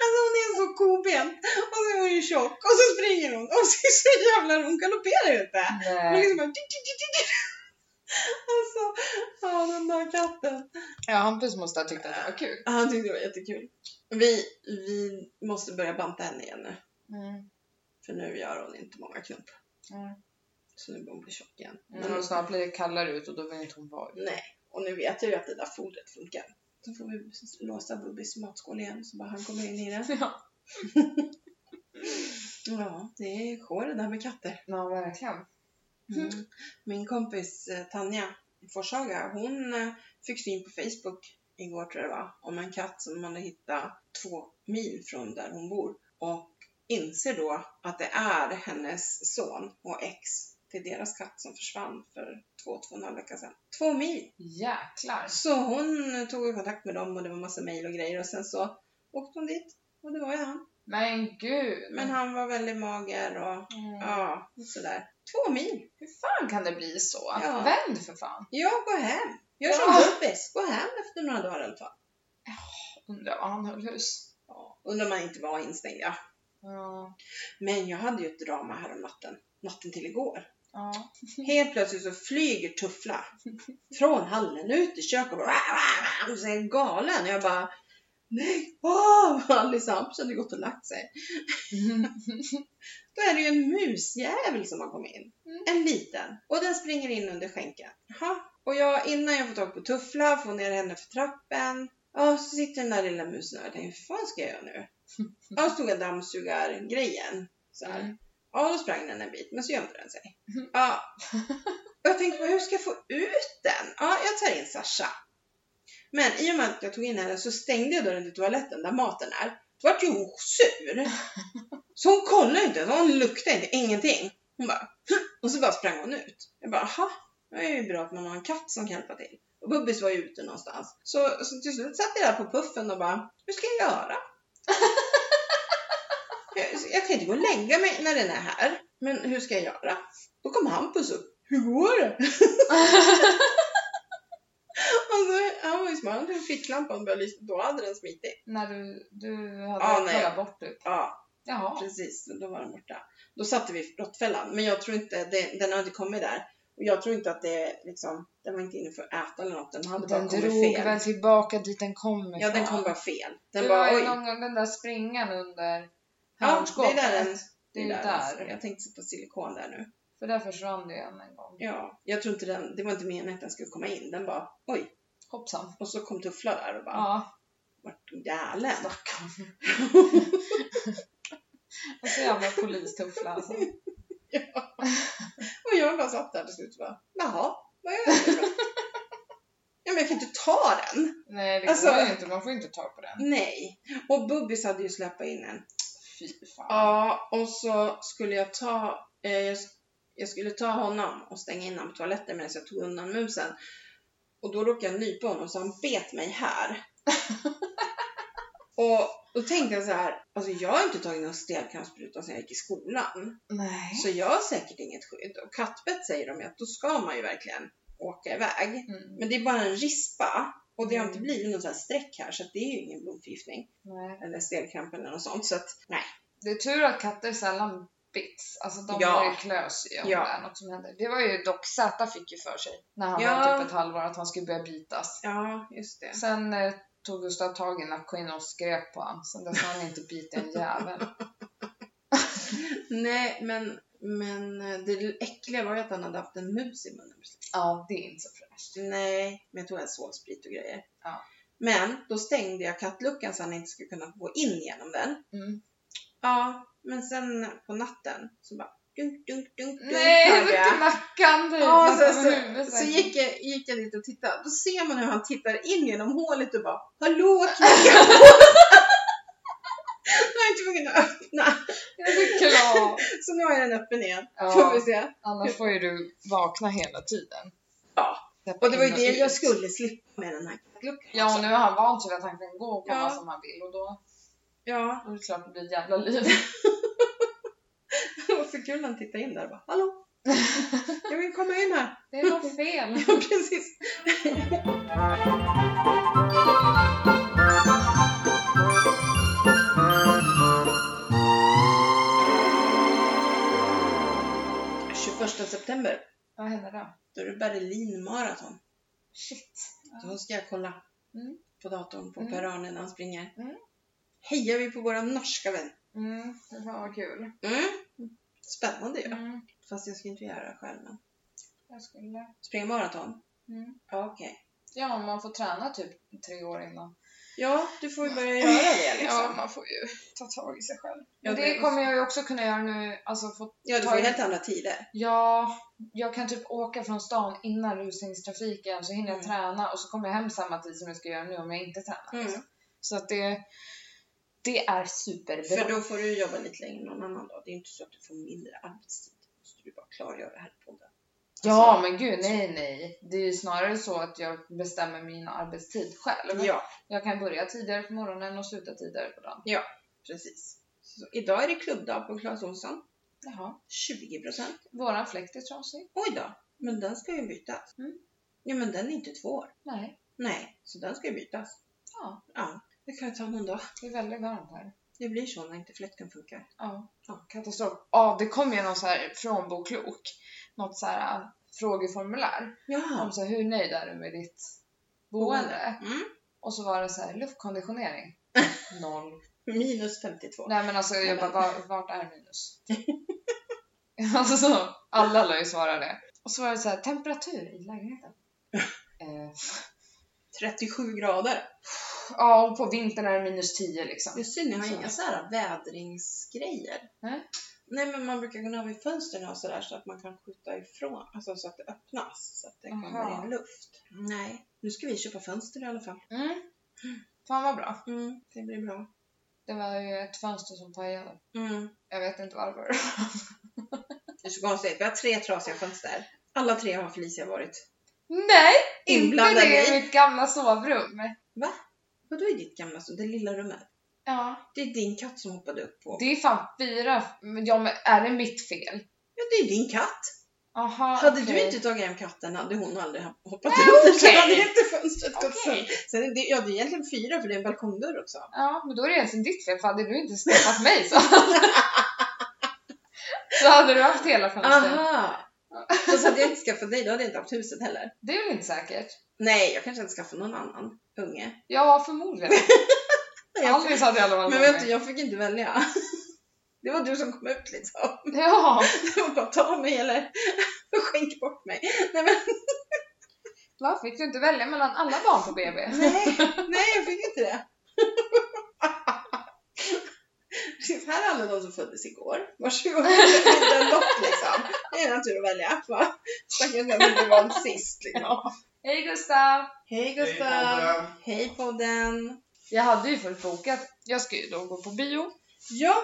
Alltså hon är så kobent och så är hon ju tjock och så springer hon och så är så jävla hon galopperar ju inte. Hon
Nej.
liksom bara... Alltså, ja den där katten.
Ja, Hampus måste ha tyckt att det var kul.
Han tyckte det var jättekul. Vi, vi måste börja banta henne igen nu.
Mm.
För nu gör hon inte många knop.
Mm.
Så nu börjar hon bli tjock igen.
Men hon snart blir det kallare ut och då vill inte hon vara ute.
Nej, och nu vet jag ju att det där fodret funkar. Så får vi låsa Bubbis matskål igen så bara han kommer in i den.
Ja.
Ja, det är sjå det där med katter.
ja, verkligen. Mm.
Min kompis eh, Tanja i Forshaga, hon eh, fick syn på Facebook igår tror jag det var, om en katt som man hade hittat två mil från där hon bor. Och inser då att det är hennes son och ex till deras katt som försvann för två, två och en halv vecka sedan. Två mil!
Jäklar.
Så hon eh, tog ju kontakt med dem och det var massa mejl och grejer och sen så åkte hon dit och det var ju han.
Men gud.
Men han var väldigt mager och
Mm.
ja, sådär. Två mil!
Hur fan kan det bli så?
Ja.
Vänd för fan.
Ja, gå hem! Gör som
Ja.
Bubbis, gå hem efter några dagar i alla fall.
Undrar vad han höll hus.
Ja, undrar om man inte var instängd, ja.
Ja.
Men jag hade ju ett drama här om natten, natten till igår.
Ja.
Helt plötsligt så flyger Tuffla från hallen ut i köket och bara och så är han galen. Jag bara Nej, åh! Alice Hamps hade gått och lagt sig. Då är det ju en musjävel som har kommit in.
Mm.
En liten. Och den springer in under skänken. Jaha. Och jag, innan jag får tag på Tuffla, får ner henne för trappen. Ja, så sitter den där lilla musen där. Jag tänker, hur fan ska jag göra nu? Ja, så tog jag dammsugargrejen. Så här.
Mm.
Ja, då sprang den en bit, men så gömde den sig.
Mm.
Ja. Och jag tänkte, hur ska jag få ut den? Ja, jag tar in Sasha. Men i och med att jag tog in henne så stängde jag dörren till toaletten där maten är. Då vart ju hon sur. Så hon kollade inte, ens, hon luktade inte, ingenting. Hon bara, "Hm." och så bara sprang hon ut. Jag bara, aha, det är ju bra att man har en katt som kan hjälpa till. Och Bubbis var ju ute någonstans. Så, så till slut satt jag där på puffen och bara, hur ska jag göra? jag, jag kan inte gå och lägga mig när den är här, men hur ska jag göra? Då kom Hampus upp. Hur går det? Alltså, han var ju smart, han tog ficklampan och började lysa. Då hade den smitit.
När du, du
Ja,
hade
nej.
kollat bort typ.
Ja,
Jaha.
Precis, då var den borta. Då satte vi råttfällan, men jag tror inte, det, den har inte kommit där. Och jag tror inte att det liksom, den var inte inne för att äta eller något, den hade
Den
bara kommit
drog
fel.
väl tillbaka dit den kom ifrån.
Ja, den kom bara fel. Den
det
bara,
var
oj.
ju någon gång den där springan under
Ja, det är där den,
Det är där.
alltså. Jag tänkte på silikon där nu.
För där försvann det ju en en gång.
Ja, jag tror inte den, det var inte meningen att den skulle komma in. Den bara, oj.
Hoppsan.
Och så kom Tuffla där och bara,
Ja,
vart du galen?
stackarn. Och så Alltså, jävla polistuffla alltså.
Och jag bara satt där till slut och bara, jaha, vad gör jag nu då? Ja, men jag kan inte ta den.
Nej, det
Alltså-
går ju inte. Man får ju inte ta på den.
Nej. Och Bubbis hade ju släppt in en.
Fy fan.
Ja, och så skulle jag ta, eh, jag, jag skulle ta honom och stänga in honom på toaletten medan jag tog undan musen. Och då råkade jag nypa honom så han bet mig här. och då tänkte jag så här, alltså jag har inte tagit någon stelkrampsspruta sedan jag gick i skolan.
Nej.
Så jag har säkert inget skydd. Och kattbett säger de ju att då ska man ju verkligen åka iväg.
Mm.
Men det är bara en rispa och det har inte
Mm.
blivit någon sån här streck här så att det är ju ingen blodförgiftning
Nej.
eller stelkramp eller något sånt. Så att nej,
Det är tur att katter sällan bits. Alltså de
Ja.
ja. klös ju om
Ja.
det är något som händer. Det var ju dock Z fick ju för sig när han
Ja.
var typ ett halvår att han skulle börja bitas.
ja just det.
Sen eh, tog Gustav tag i nacken och skrek på honom. Sen dess har han inte bitit en jävel.
Nej, men, men det äckliga var ju att han hade haft en mus i munnen. precis.
Ja, det är inte så fräscht.
Nej, men jag tog en sålsprit och grejer.
Ja.
Men då stängde jag kattluckan så han inte skulle kunna gå in genom den.
Mm.
Ja, men sen på natten så bara dunk, dunk, dunk, dunk
Nej,
hörde
runt i nacken! du.
Ja,
Nästan
så,
med
så,
huvudet
så
här.
gick, jag, gick jag dit och tittade. Då ser man hur han tittar in genom hålet och bara Hallå, knackar på! Nu har jag inte kunnat öppna.
Ja, det är klart.
Så nu har jag den öppen igen. Får vi
Ja,
se.
annars får ju du vakna hela tiden.
Ja.
Släpp
Och det var ju
in
det jag
ut.
skulle slippa med den här luckan.
Ja, och nu har han vant sig vid att han kan gå och komma
Ja.
som han vill och då,
ja.
då är det klart det blir ett jävla liv.
Det var så kul när han tittade in där och bara Hallå! Jag vill komma in här.
Det är något fel.
Ja, precis. första september,
Vad hände då?
då är det Berlin maraton.
Shit.
Då ska jag kolla.
Mm.
på datorn på
Mm.
peruanen när han springer.
Mm.
Hejar vi på våra norska vän.
Mm, det var vad kul.
Mm. Spännande ju.
Mm,
Fast jag skulle inte göra det själv. Men.
jag skulle.
Springa maraton?
Mm.
Ja, okej.
Ja, man får träna typ tre år innan.
Ja, du får ju börja göra det liksom.
man får ju ta tag i sig själv.
Ja,
Men
det
det
är
kommer jag ju också kunna göra nu. Alltså, få,
Ja, du får ju helt andra tider.
ja, jag kan typ åka från stan innan rusningstrafiken så hinner jag
Mm.
träna och så kommer jag hem samma tid som jag ska göra nu om jag inte tränar.
Mm.
Så att det, det är superbra.
För då får du jobba lite längre än någon annan dag. Det är ju inte så att du får mindre arbetstid. måste du bara klargöra här på podden.
ja,
Alltså,
men gud nej nej. Det är ju snarare så att jag bestämmer min arbetstid själv.
Ja,
Jag kan börja tidigare på morgonen och sluta tidigare på dagen.
precis. Så, idag är det klubbdag på Clas Ohlson.
Jaha.
20%.
Våran fläkt är trasig.
Oj då, men den ska ju bytas.
Mm.
Ja, men den är inte två år.
Nej,
Nej, så den ska ju bytas.
Ja.
Ja, det kan jag ta någon dag.
det är väldigt varmt här.
Det blir så när inte fläkten funkar.
Ja.
Ja.
Katastrof. Ja, det kom ju någon så här frånboklok. Något så här äh, frågeformulär. Om
Ja.
så här, hur nöjd är du med ditt boende?
Mm.
Och så var det så här luftkonditionering. Noll.
Minus 52.
Nej men alltså jag
Nej,
bara,
men-
var- vart är minus? alltså, alla lär ju svara det. Och så var det så här, temperatur i lägenheten. eh,
37 grader.
Ja, och på vintern är det minus 10 liksom.
Det är synd, ni har
Så.
inga så här vädringsgrejer.
Nej.
Nej, men man brukar kunna ha vid fönstren och sådär så att man kan skjuta ifrån, alltså så att det öppnas, så att det
Aha.
kommer in luft. Nej, nu ska vi köpa fönster i alla fall.
Mm. Fan vad bra.
Mm, det blir bra.
Det var ju ett fönster som pajade.
Mm.
Jag vet inte varför.
Det är så konstigt, vi har tre trasiga fönster. Alla tre har Felicia varit.
Nej! Inte
Inblandad
det
i.
i mitt gamla sovrum.
Vadå i ditt gamla, så det lilla rummet?
Ja.
Det är din katt som hoppade upp på.
Det är fan fyra. Men ja, men är det mitt fel?
Ja, det är din katt!
Aha,
Hade
okej.
du inte tagit hem katten hade hon aldrig hoppat upp där, så
okej.
hade inte fönstret gått
Okej.
sönder. Sen är det, ja, det är egentligen fyra för det är en balkongdörr också.
Ja, men då är det egentligen ditt fel för hade du inte stoppat mig så Så hade du haft hela fönstret.
Aha! Fast hade Alltså, jag inte skaffat dig, då hade jag inte haft huset heller.
Det är väl inte säkert?
Nej, jag kanske hade skaffat någon annan unge.
Ja, förmodligen.
Nej, jag-
Alice hade i alla fall
Men
varit
vet du, jag fick inte välja. Det var du som kom ut liksom.
med. Ja,
Det var bara ta mig eller skänk bort mig. Nej, men,
va? Fick du inte välja mellan alla barn på BB?
nej, nej jag fick inte det. Precis, här är alla de som föddes igår. Varsågod, inte en lott liksom. Det är natur att välja. Va? Stackars den som blev vald sist liksom.
Ja. Hej Gustav!
Hej
Hej,
Gustav!
Barbara.
Hej podden!
Jag hade ju först bokat, jag ska ju då gå på bio.
Ja,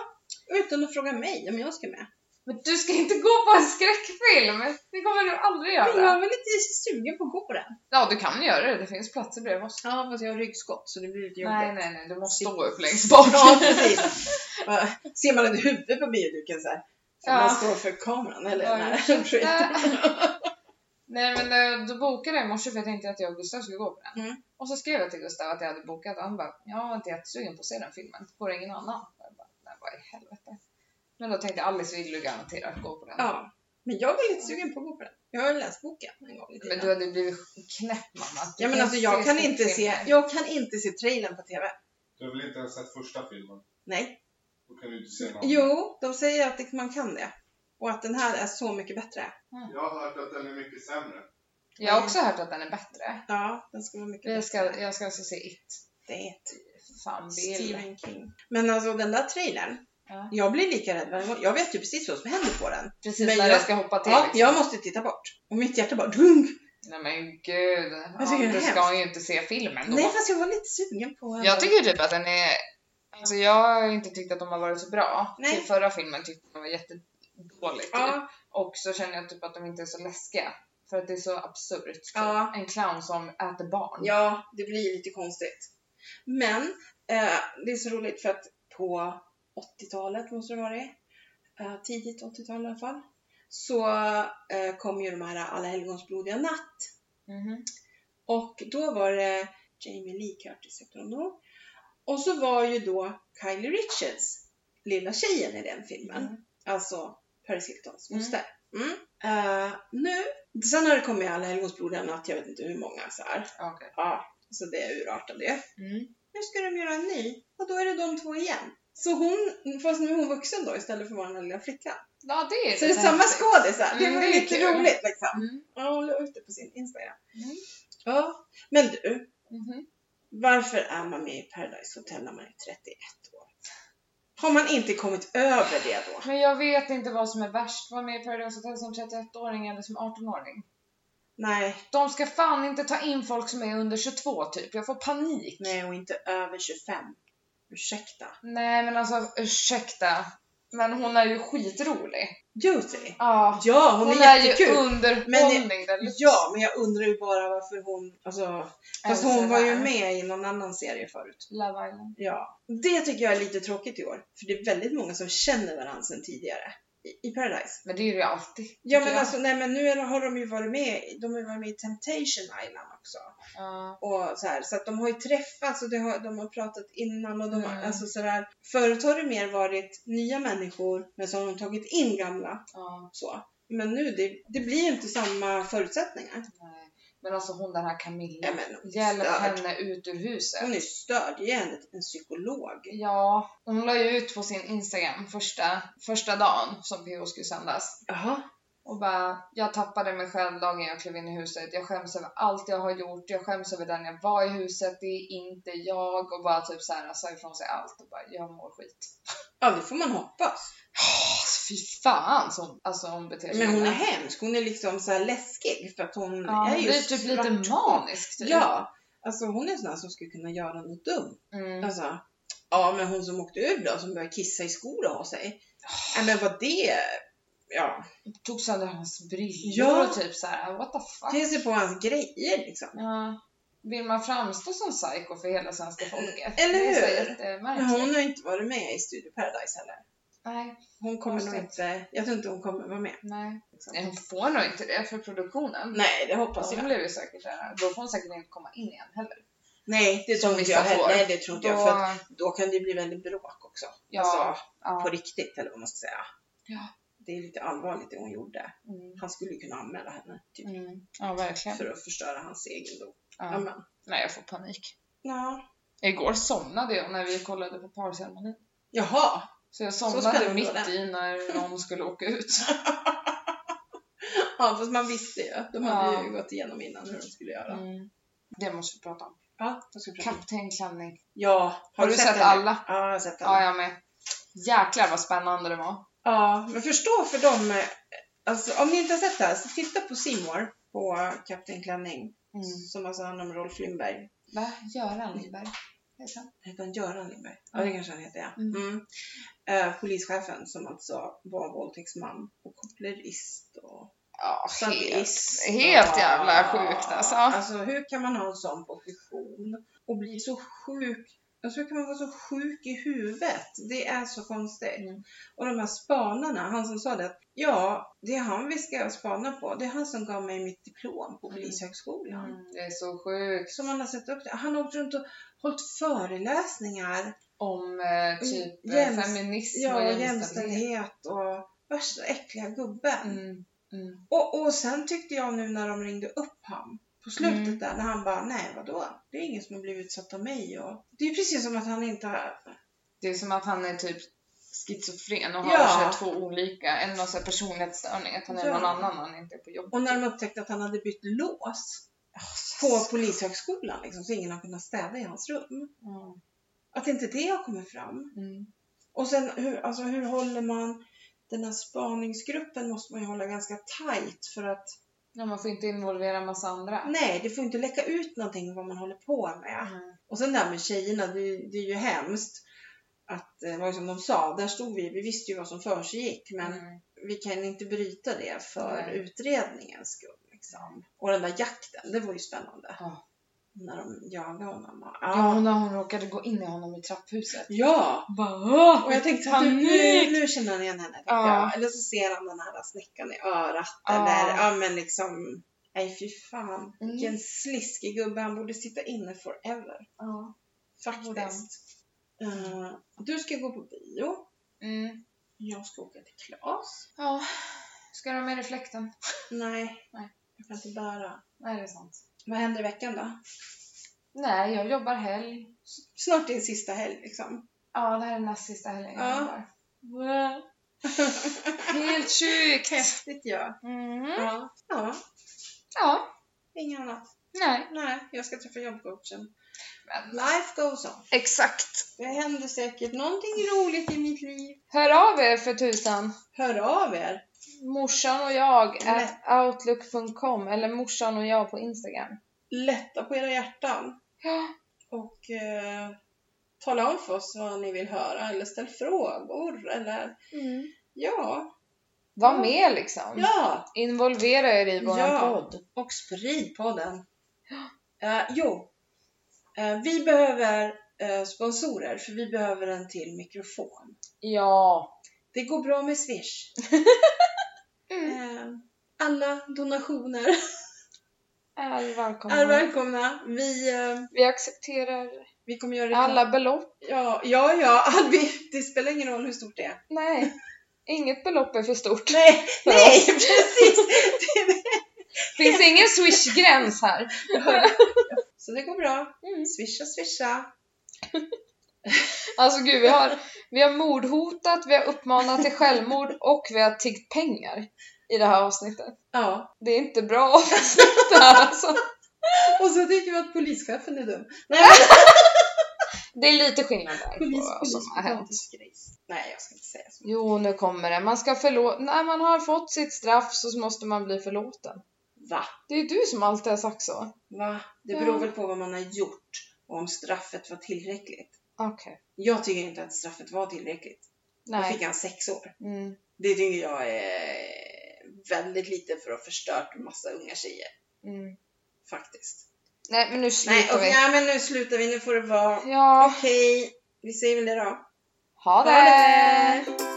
utan att fråga mig om jag ska med.
Men du ska inte gå på en skräckfilm! Det kommer du aldrig
Men jag
göra.
är väl lite sugen på att gå på den.
Ja, du kan ju göra det. Det finns platser bredvid oss.
Ja, fast jag har ryggskott så det blir lite
Nej,
jobbigt.
nej, nej. Du måste stå upp längst bak.
Ja, precis. Bara, Ser man ett huvud på bioduken så här? För
Ja.
man står för kameran eller
Ja,
när
ursäkta. Nej, men eh, då bokade jag i morse för jag tänkte att jag och Gustav skulle gå på den.
Mm.
Och så skrev jag till Gustav att jag hade bokat och han bara, jag var inte jättesugen på att se den filmen. Går det ingen annan? Jag bara, nej, vad i helvete. Men då tänkte jag, Alice vill ju garanterat gå på den.
Ja, men jag var lite sugen på att gå på den. Jag har ju läst boken en gång i
Men
tiden.
du hade ju blivit knäpp mamma. Du
Ja, men
kan
alltså
ju
jag kan,
skräckfilmer.
inte se, jag kan inte se trailern på TV.
Du har väl inte ens sett första filmen?
Nej.
Då kan du inte se någon.
Jo, de säger att det- man kan det. Och att den här är så mycket bättre.
Jag har hört att den är mycket sämre.
Jag har också hört att den är bättre.
Ja, den ska vara mycket
Jag ska,
bättre.
jag ska alltså se It.
Det är ett
Fan, Bill.
Stephen King. Men alltså den där trailern,
Ja.
jag blir lika rädd varje gång. Jag vet ju precis vad som händer på den.
Precis
Men
när jag,
jag-
ska hoppa till.
Ja,
liksom.
jag måste titta bort. Och mitt hjärta bara dunk.
Nej men gud.
Jag tycker
Ja,
det
du
är
ska ju inte se filmen då.
Nej, fast jag var lite sugen på...
Jag tycker typ att den är... Alltså jag har inte tyckt att de har varit så bra.
Nej.
Typ förra filmen tyckte jag den var jättedålig typ.
Ja,
Och så känner jag typ att de inte är så läskiga. För att det är så absurt. Typ.
Ja.
En clown som äter barn.
ja, det blir lite konstigt. Men eh, det är så roligt för att på 80-talet måste det vara det. Eh, tidigt 80-tal i alla fall. Så eh, kom ju de här Alla helgons blodiga natt.
Mhm.
Och då var det Jamie Lee Curtis heter hon då. Och så var ju då Kylie Richards, lilla tjejen i den filmen.
Mm.
Alltså Paris Hiltons
Mm.
moster. Mm. Eh, nu, sen har det kommit Alla helgons blodiga natt, jag vet inte hur många så här.
Okej.
Ja, Så det urartade ju.
Mm.
Nu ska de göra en ny och då är det de två igen. Så hon, fast nu är hon vuxen då istället för att vara den här lilla flickan.
Ja, det är
Så det är
lite
samma
häftigt.
skådisar. Det
Mm,
var
det är
lite
kul.
roligt liksom.
Mm.
Ja, hon la ut det på sin Instagram.
Mm.
Ja. Men du,
Mhm.
varför är man med i Paradise Hotel när man är 31 år? Har man inte kommit över det då?
Men jag vet inte vad som är värst. Vara med i Paradise Hotel som 31-åring eller som 18-åring.
Nej,
De ska fan inte ta in folk som är under 22 typ. Jag får panik.
nej och inte över 25. Ursäkta.
Nej men alltså ursäkta. Men hon är ju skitrolig.
Judy?
Ja.
Ja, hon, är,
ju
jättekul.
underhållning. deluxe.
Ja, men jag undrar ju bara varför hon... Alltså, fast
Eller så
hon var ju
här,
med i någon annan serie förut.
Love Island.
Ja. Det tycker jag är lite tråkigt i år. För det är väldigt många som känner varandra sedan tidigare. I, i Paradise.
Men det är det ju alltid.
Ja
tycker
men
jag.
alltså nej men nu är, har de ju varit med, i- de har ju varit med i Temptation Island också.
Ja.
Och så, här, så att de har ju träffats och det har, de har pratat innan och de har,
Mm.
alltså sådär. Förut har det mer varit nya människor men så har de tagit in gamla
ja.
så. Men nu, det, det blir ju inte samma förutsättningar.
Nej. Men alltså hon den här Camilla.
Ja, men,
Hjälp
störd.
henne ut ur huset.
Hon är störd, ge henne en psykolog.
Ja, hon la ju ut på sin Instagram första, första dagen som PO skulle sändas
Jaha.
och bara “Jag tappade mig själv dagen jag klev in i huset. Jag skäms över allt jag har gjort. Jag skäms över den jag var i huset. Det är inte jag” och bara typ så här sa ifrån sig allt och bara “Jag mår skit”.
Ja det får man hoppas.
Åh, fy fan så hon, alltså hon beter sig
Men hon är
illa.
hemsk, hon är liksom så här läskig för att hon
ja,
är
hon
ju
blir typ lite
svart.
manisk typ.
Ja, alltså hon är en sån här som skulle kunna göra något dumt.
Mm.
Alltså, ja men hon som åkte ur då, som började kissa i skor och ha sig. Nej men vad det... Ja,
Tog sönder hans brillor
Ja.
och typ så här “What the fuck?”
ge sig på hans grejer liksom.
ja. Vill man framstå som psycho för hela svenska folket?
Eller
Det är så
hur? Men
jättemärkligt.
hon har inte varit med i Studio Paradise heller.
Nej,
Hon kommer nog
Konstigt.
inte... Jag tror inte hon kommer vara med.
nej.
Liksom.
Nej, hon får nog inte det för produktionen.
Nej, det hoppas
Hon
jag.
blev ju säkert där. Då får hon säkert inte komma in igen heller.
Nej, det tror
Som
inte
vissa
jag heller.
får.
Nej, det tror inte jag. För att
Då-
då kan det bli väldigt bråk också.
ja,
Alltså, på
ja.
riktigt eller vad man ska säga.
Ja.
Det är lite allvarligt det hon gjorde.
Mm,
Han skulle ju kunna anmäla henne typ,
mm. ja, verkligen.
för att förstöra hans egendom. Ja.
Ja.
men.
Nej, jag får panik.
Ja.
Igår somnade jag när vi kollade på parceremonin.
Jaha,
Så jag
ska det
somnade
vara
mitt
där.
i när någon skulle åka ut.
Ja, fast man visste ju. De hade
Ja.
ju gått igenom innan hur de skulle göra.
Mm. Det måste vi prata om.
Ja, vad ska vi prata om?
Kapten Klänning.
Ja, har,
Har du sett
den?
alla?
Ja, jag har sett alla.
Ja,
Ja,
jag med. Jäklar vad spännande det var.
men förstå för dem. eh, Alltså, om ni inte har sett det här, så titta på Simor på Kapten Klänning.
Mm.
Som alltså handlar om Rolf Lindberg.
Va? Göran Nyberg? Heter han?
Heter han Göran Lindberg? Ja, det
Mm.
kanske han heter, ja.
Mm.
Mm. Eh, polischefen som alltså var våldtäktsman och kopplerist och
Ja, helt.
sadist.
helt
och-
jävla sjukt, alltså.
Alltså hur kan man ha en sån position och bli så sjuk? Alltså hur kan man vara så sjuk i huvudet? Det är så konstigt.
Mm.
Och de här spanarna, han som sa det att ja, det är han vi ska spana på. Det är han som gav mig mitt diplom på
Mm.
Polishögskolan.
Mm. Det är så sjukt.
Som han har sett upp det. Han har åkt runt och hållit föreläsningar.
om eh, typ eh,
Jämst-
feminism
Ja,
och
och
jämställdhet.
jämställdhet och värsta äckliga gubben.
Mm, mm.
Och, och sen tyckte jag nu när de ringde upp han på slutet
Mm.
där när han bara nej vadå? Det är ingen som har blivit utsatt av mig och det är precis som att han inte har...
Det är som att han är typ schizofren och
Ja.
har så här två olika, en någon så här personlighetsstörning, att han är
Ja.
någon annan när han inte är på jobbet.
Och när de upptäckte att han hade bytt lås på polishögskolan liksom, så ingen har kunnat städa i hans rum.
Ja.
Att inte det har kommit fram.
Mm.
Och sen hur, alltså, hur håller man den här spaningsgruppen måste man ju hålla ganska tajt för att
Ja, man får inte involvera massa andra.
nej, det får inte läcka ut någonting vad man håller på med.
Mm.
Och sen det här med tjejerna, det, är- det är ju hemskt. Att, eh, vad som de sa, där stod vi, vi visste ju vad som försiggick men
Mm.
vi kan inte bryta det för
Nej.
utredningens skull. Liksom. Och den där jakten, det var ju spännande.
Ja.
När de jagade honom. Ja,
Ja, och
ja.
när hon råkade gå in i honom i trapphuset.
ja.
Bara, "Åh,
Och jag tänkte att nu,
panik!
nu känner han igen henne. tänkte
Ja.
jag. Eller så ser han den här snäckan i örat.
Ja.
Eller ja men liksom. Nej fy fan.
Mm.
Vilken sliskig gubbe. Han borde sitta inne forever.
Ja.
Faktiskt. Eh, du ska gå på bio.
Mm.
Jag ska åka till Klas.
ja. Ska du ha med dig fläkten?
Nej,
Nej.
jag kan inte bära.
Nej, det är sant.
Vad händer i veckan då?
Nej, jag jobbar helg.
Snart din sista helg liksom.
Ja, det här är näst sista helgen jag
Ja.
jobbar. Helt sjukt!
Häftigt ja.
Mm.
ja. Ja,
Ja,
inget annat.
nej.
Nej, jag ska träffa jobbcoachen.
Men,
Life goes on.
exakt.
Det händer säkert någonting roligt i mitt liv.
Hör av er för tusan.
Hör av er!
Morsan och jag
Nej.
at outlook.com eller morsan och jag på Instagram.
Lätta på era hjärtan
Ja,
och eh, tala om för oss vad ni vill höra eller ställ frågor eller Mm. ja,
var
Ja.
med liksom.
ja!
Involvera er i våran
Ja.
podd.
Och sprid podden. Eh, jo, Eh, vi behöver eh, sponsorer för vi behöver en till mikrofon.
Ja.
Det går bra med Swish.
Mm.
Eh, alla donationer
Är välkomna.
är välkomna. Vi, eh,
Vi accepterar
vi kommer göra reklam.
alla belopp.
Ja, ja, ja all, vi, det spelar ingen roll hur stort det är.
Nej, inget belopp är för stort.
Nej,
För
nej
oss.
precis!
Finns ingen swish-gräns här.
Så det går bra.
Mm.
Swisha, swisha.
Alltså gud, vi har, vi har mordhotat, vi har uppmanat till självmord och vi har tiggt pengar i det här avsnittet.
Ja.
Det är inte bra avsnitt det här alltså.
Och så tycker vi att polischefen är dum. Nej,
Det är lite skillnad där
polis,
på vad
polis,
som har hänt.
potatisgris. Nej, jag ska inte säga så.
Jo, nu kommer det. Man ska förlåta. När man har fått sitt straff så måste man bli förlåten.
Va?
Det är du som alltid har sagt så.
Va? Det
Ja.
beror väl på vad man har gjort och om straffet var tillräckligt.
Okej.
Jag tycker inte att straffet var tillräckligt. Då
Nej.
fick han sex år.
Mm.
Det tycker jag är väldigt lite för att ha förstört en massa unga tjejer.
Mm.
Faktiskt.
Nej, men nu
Nej,
slutar
och,
vi.
ja, men nu slutar vi. Nu får det vara.
Ja,
Okej, vi säger väl det då.
ha
Ha
det!
det!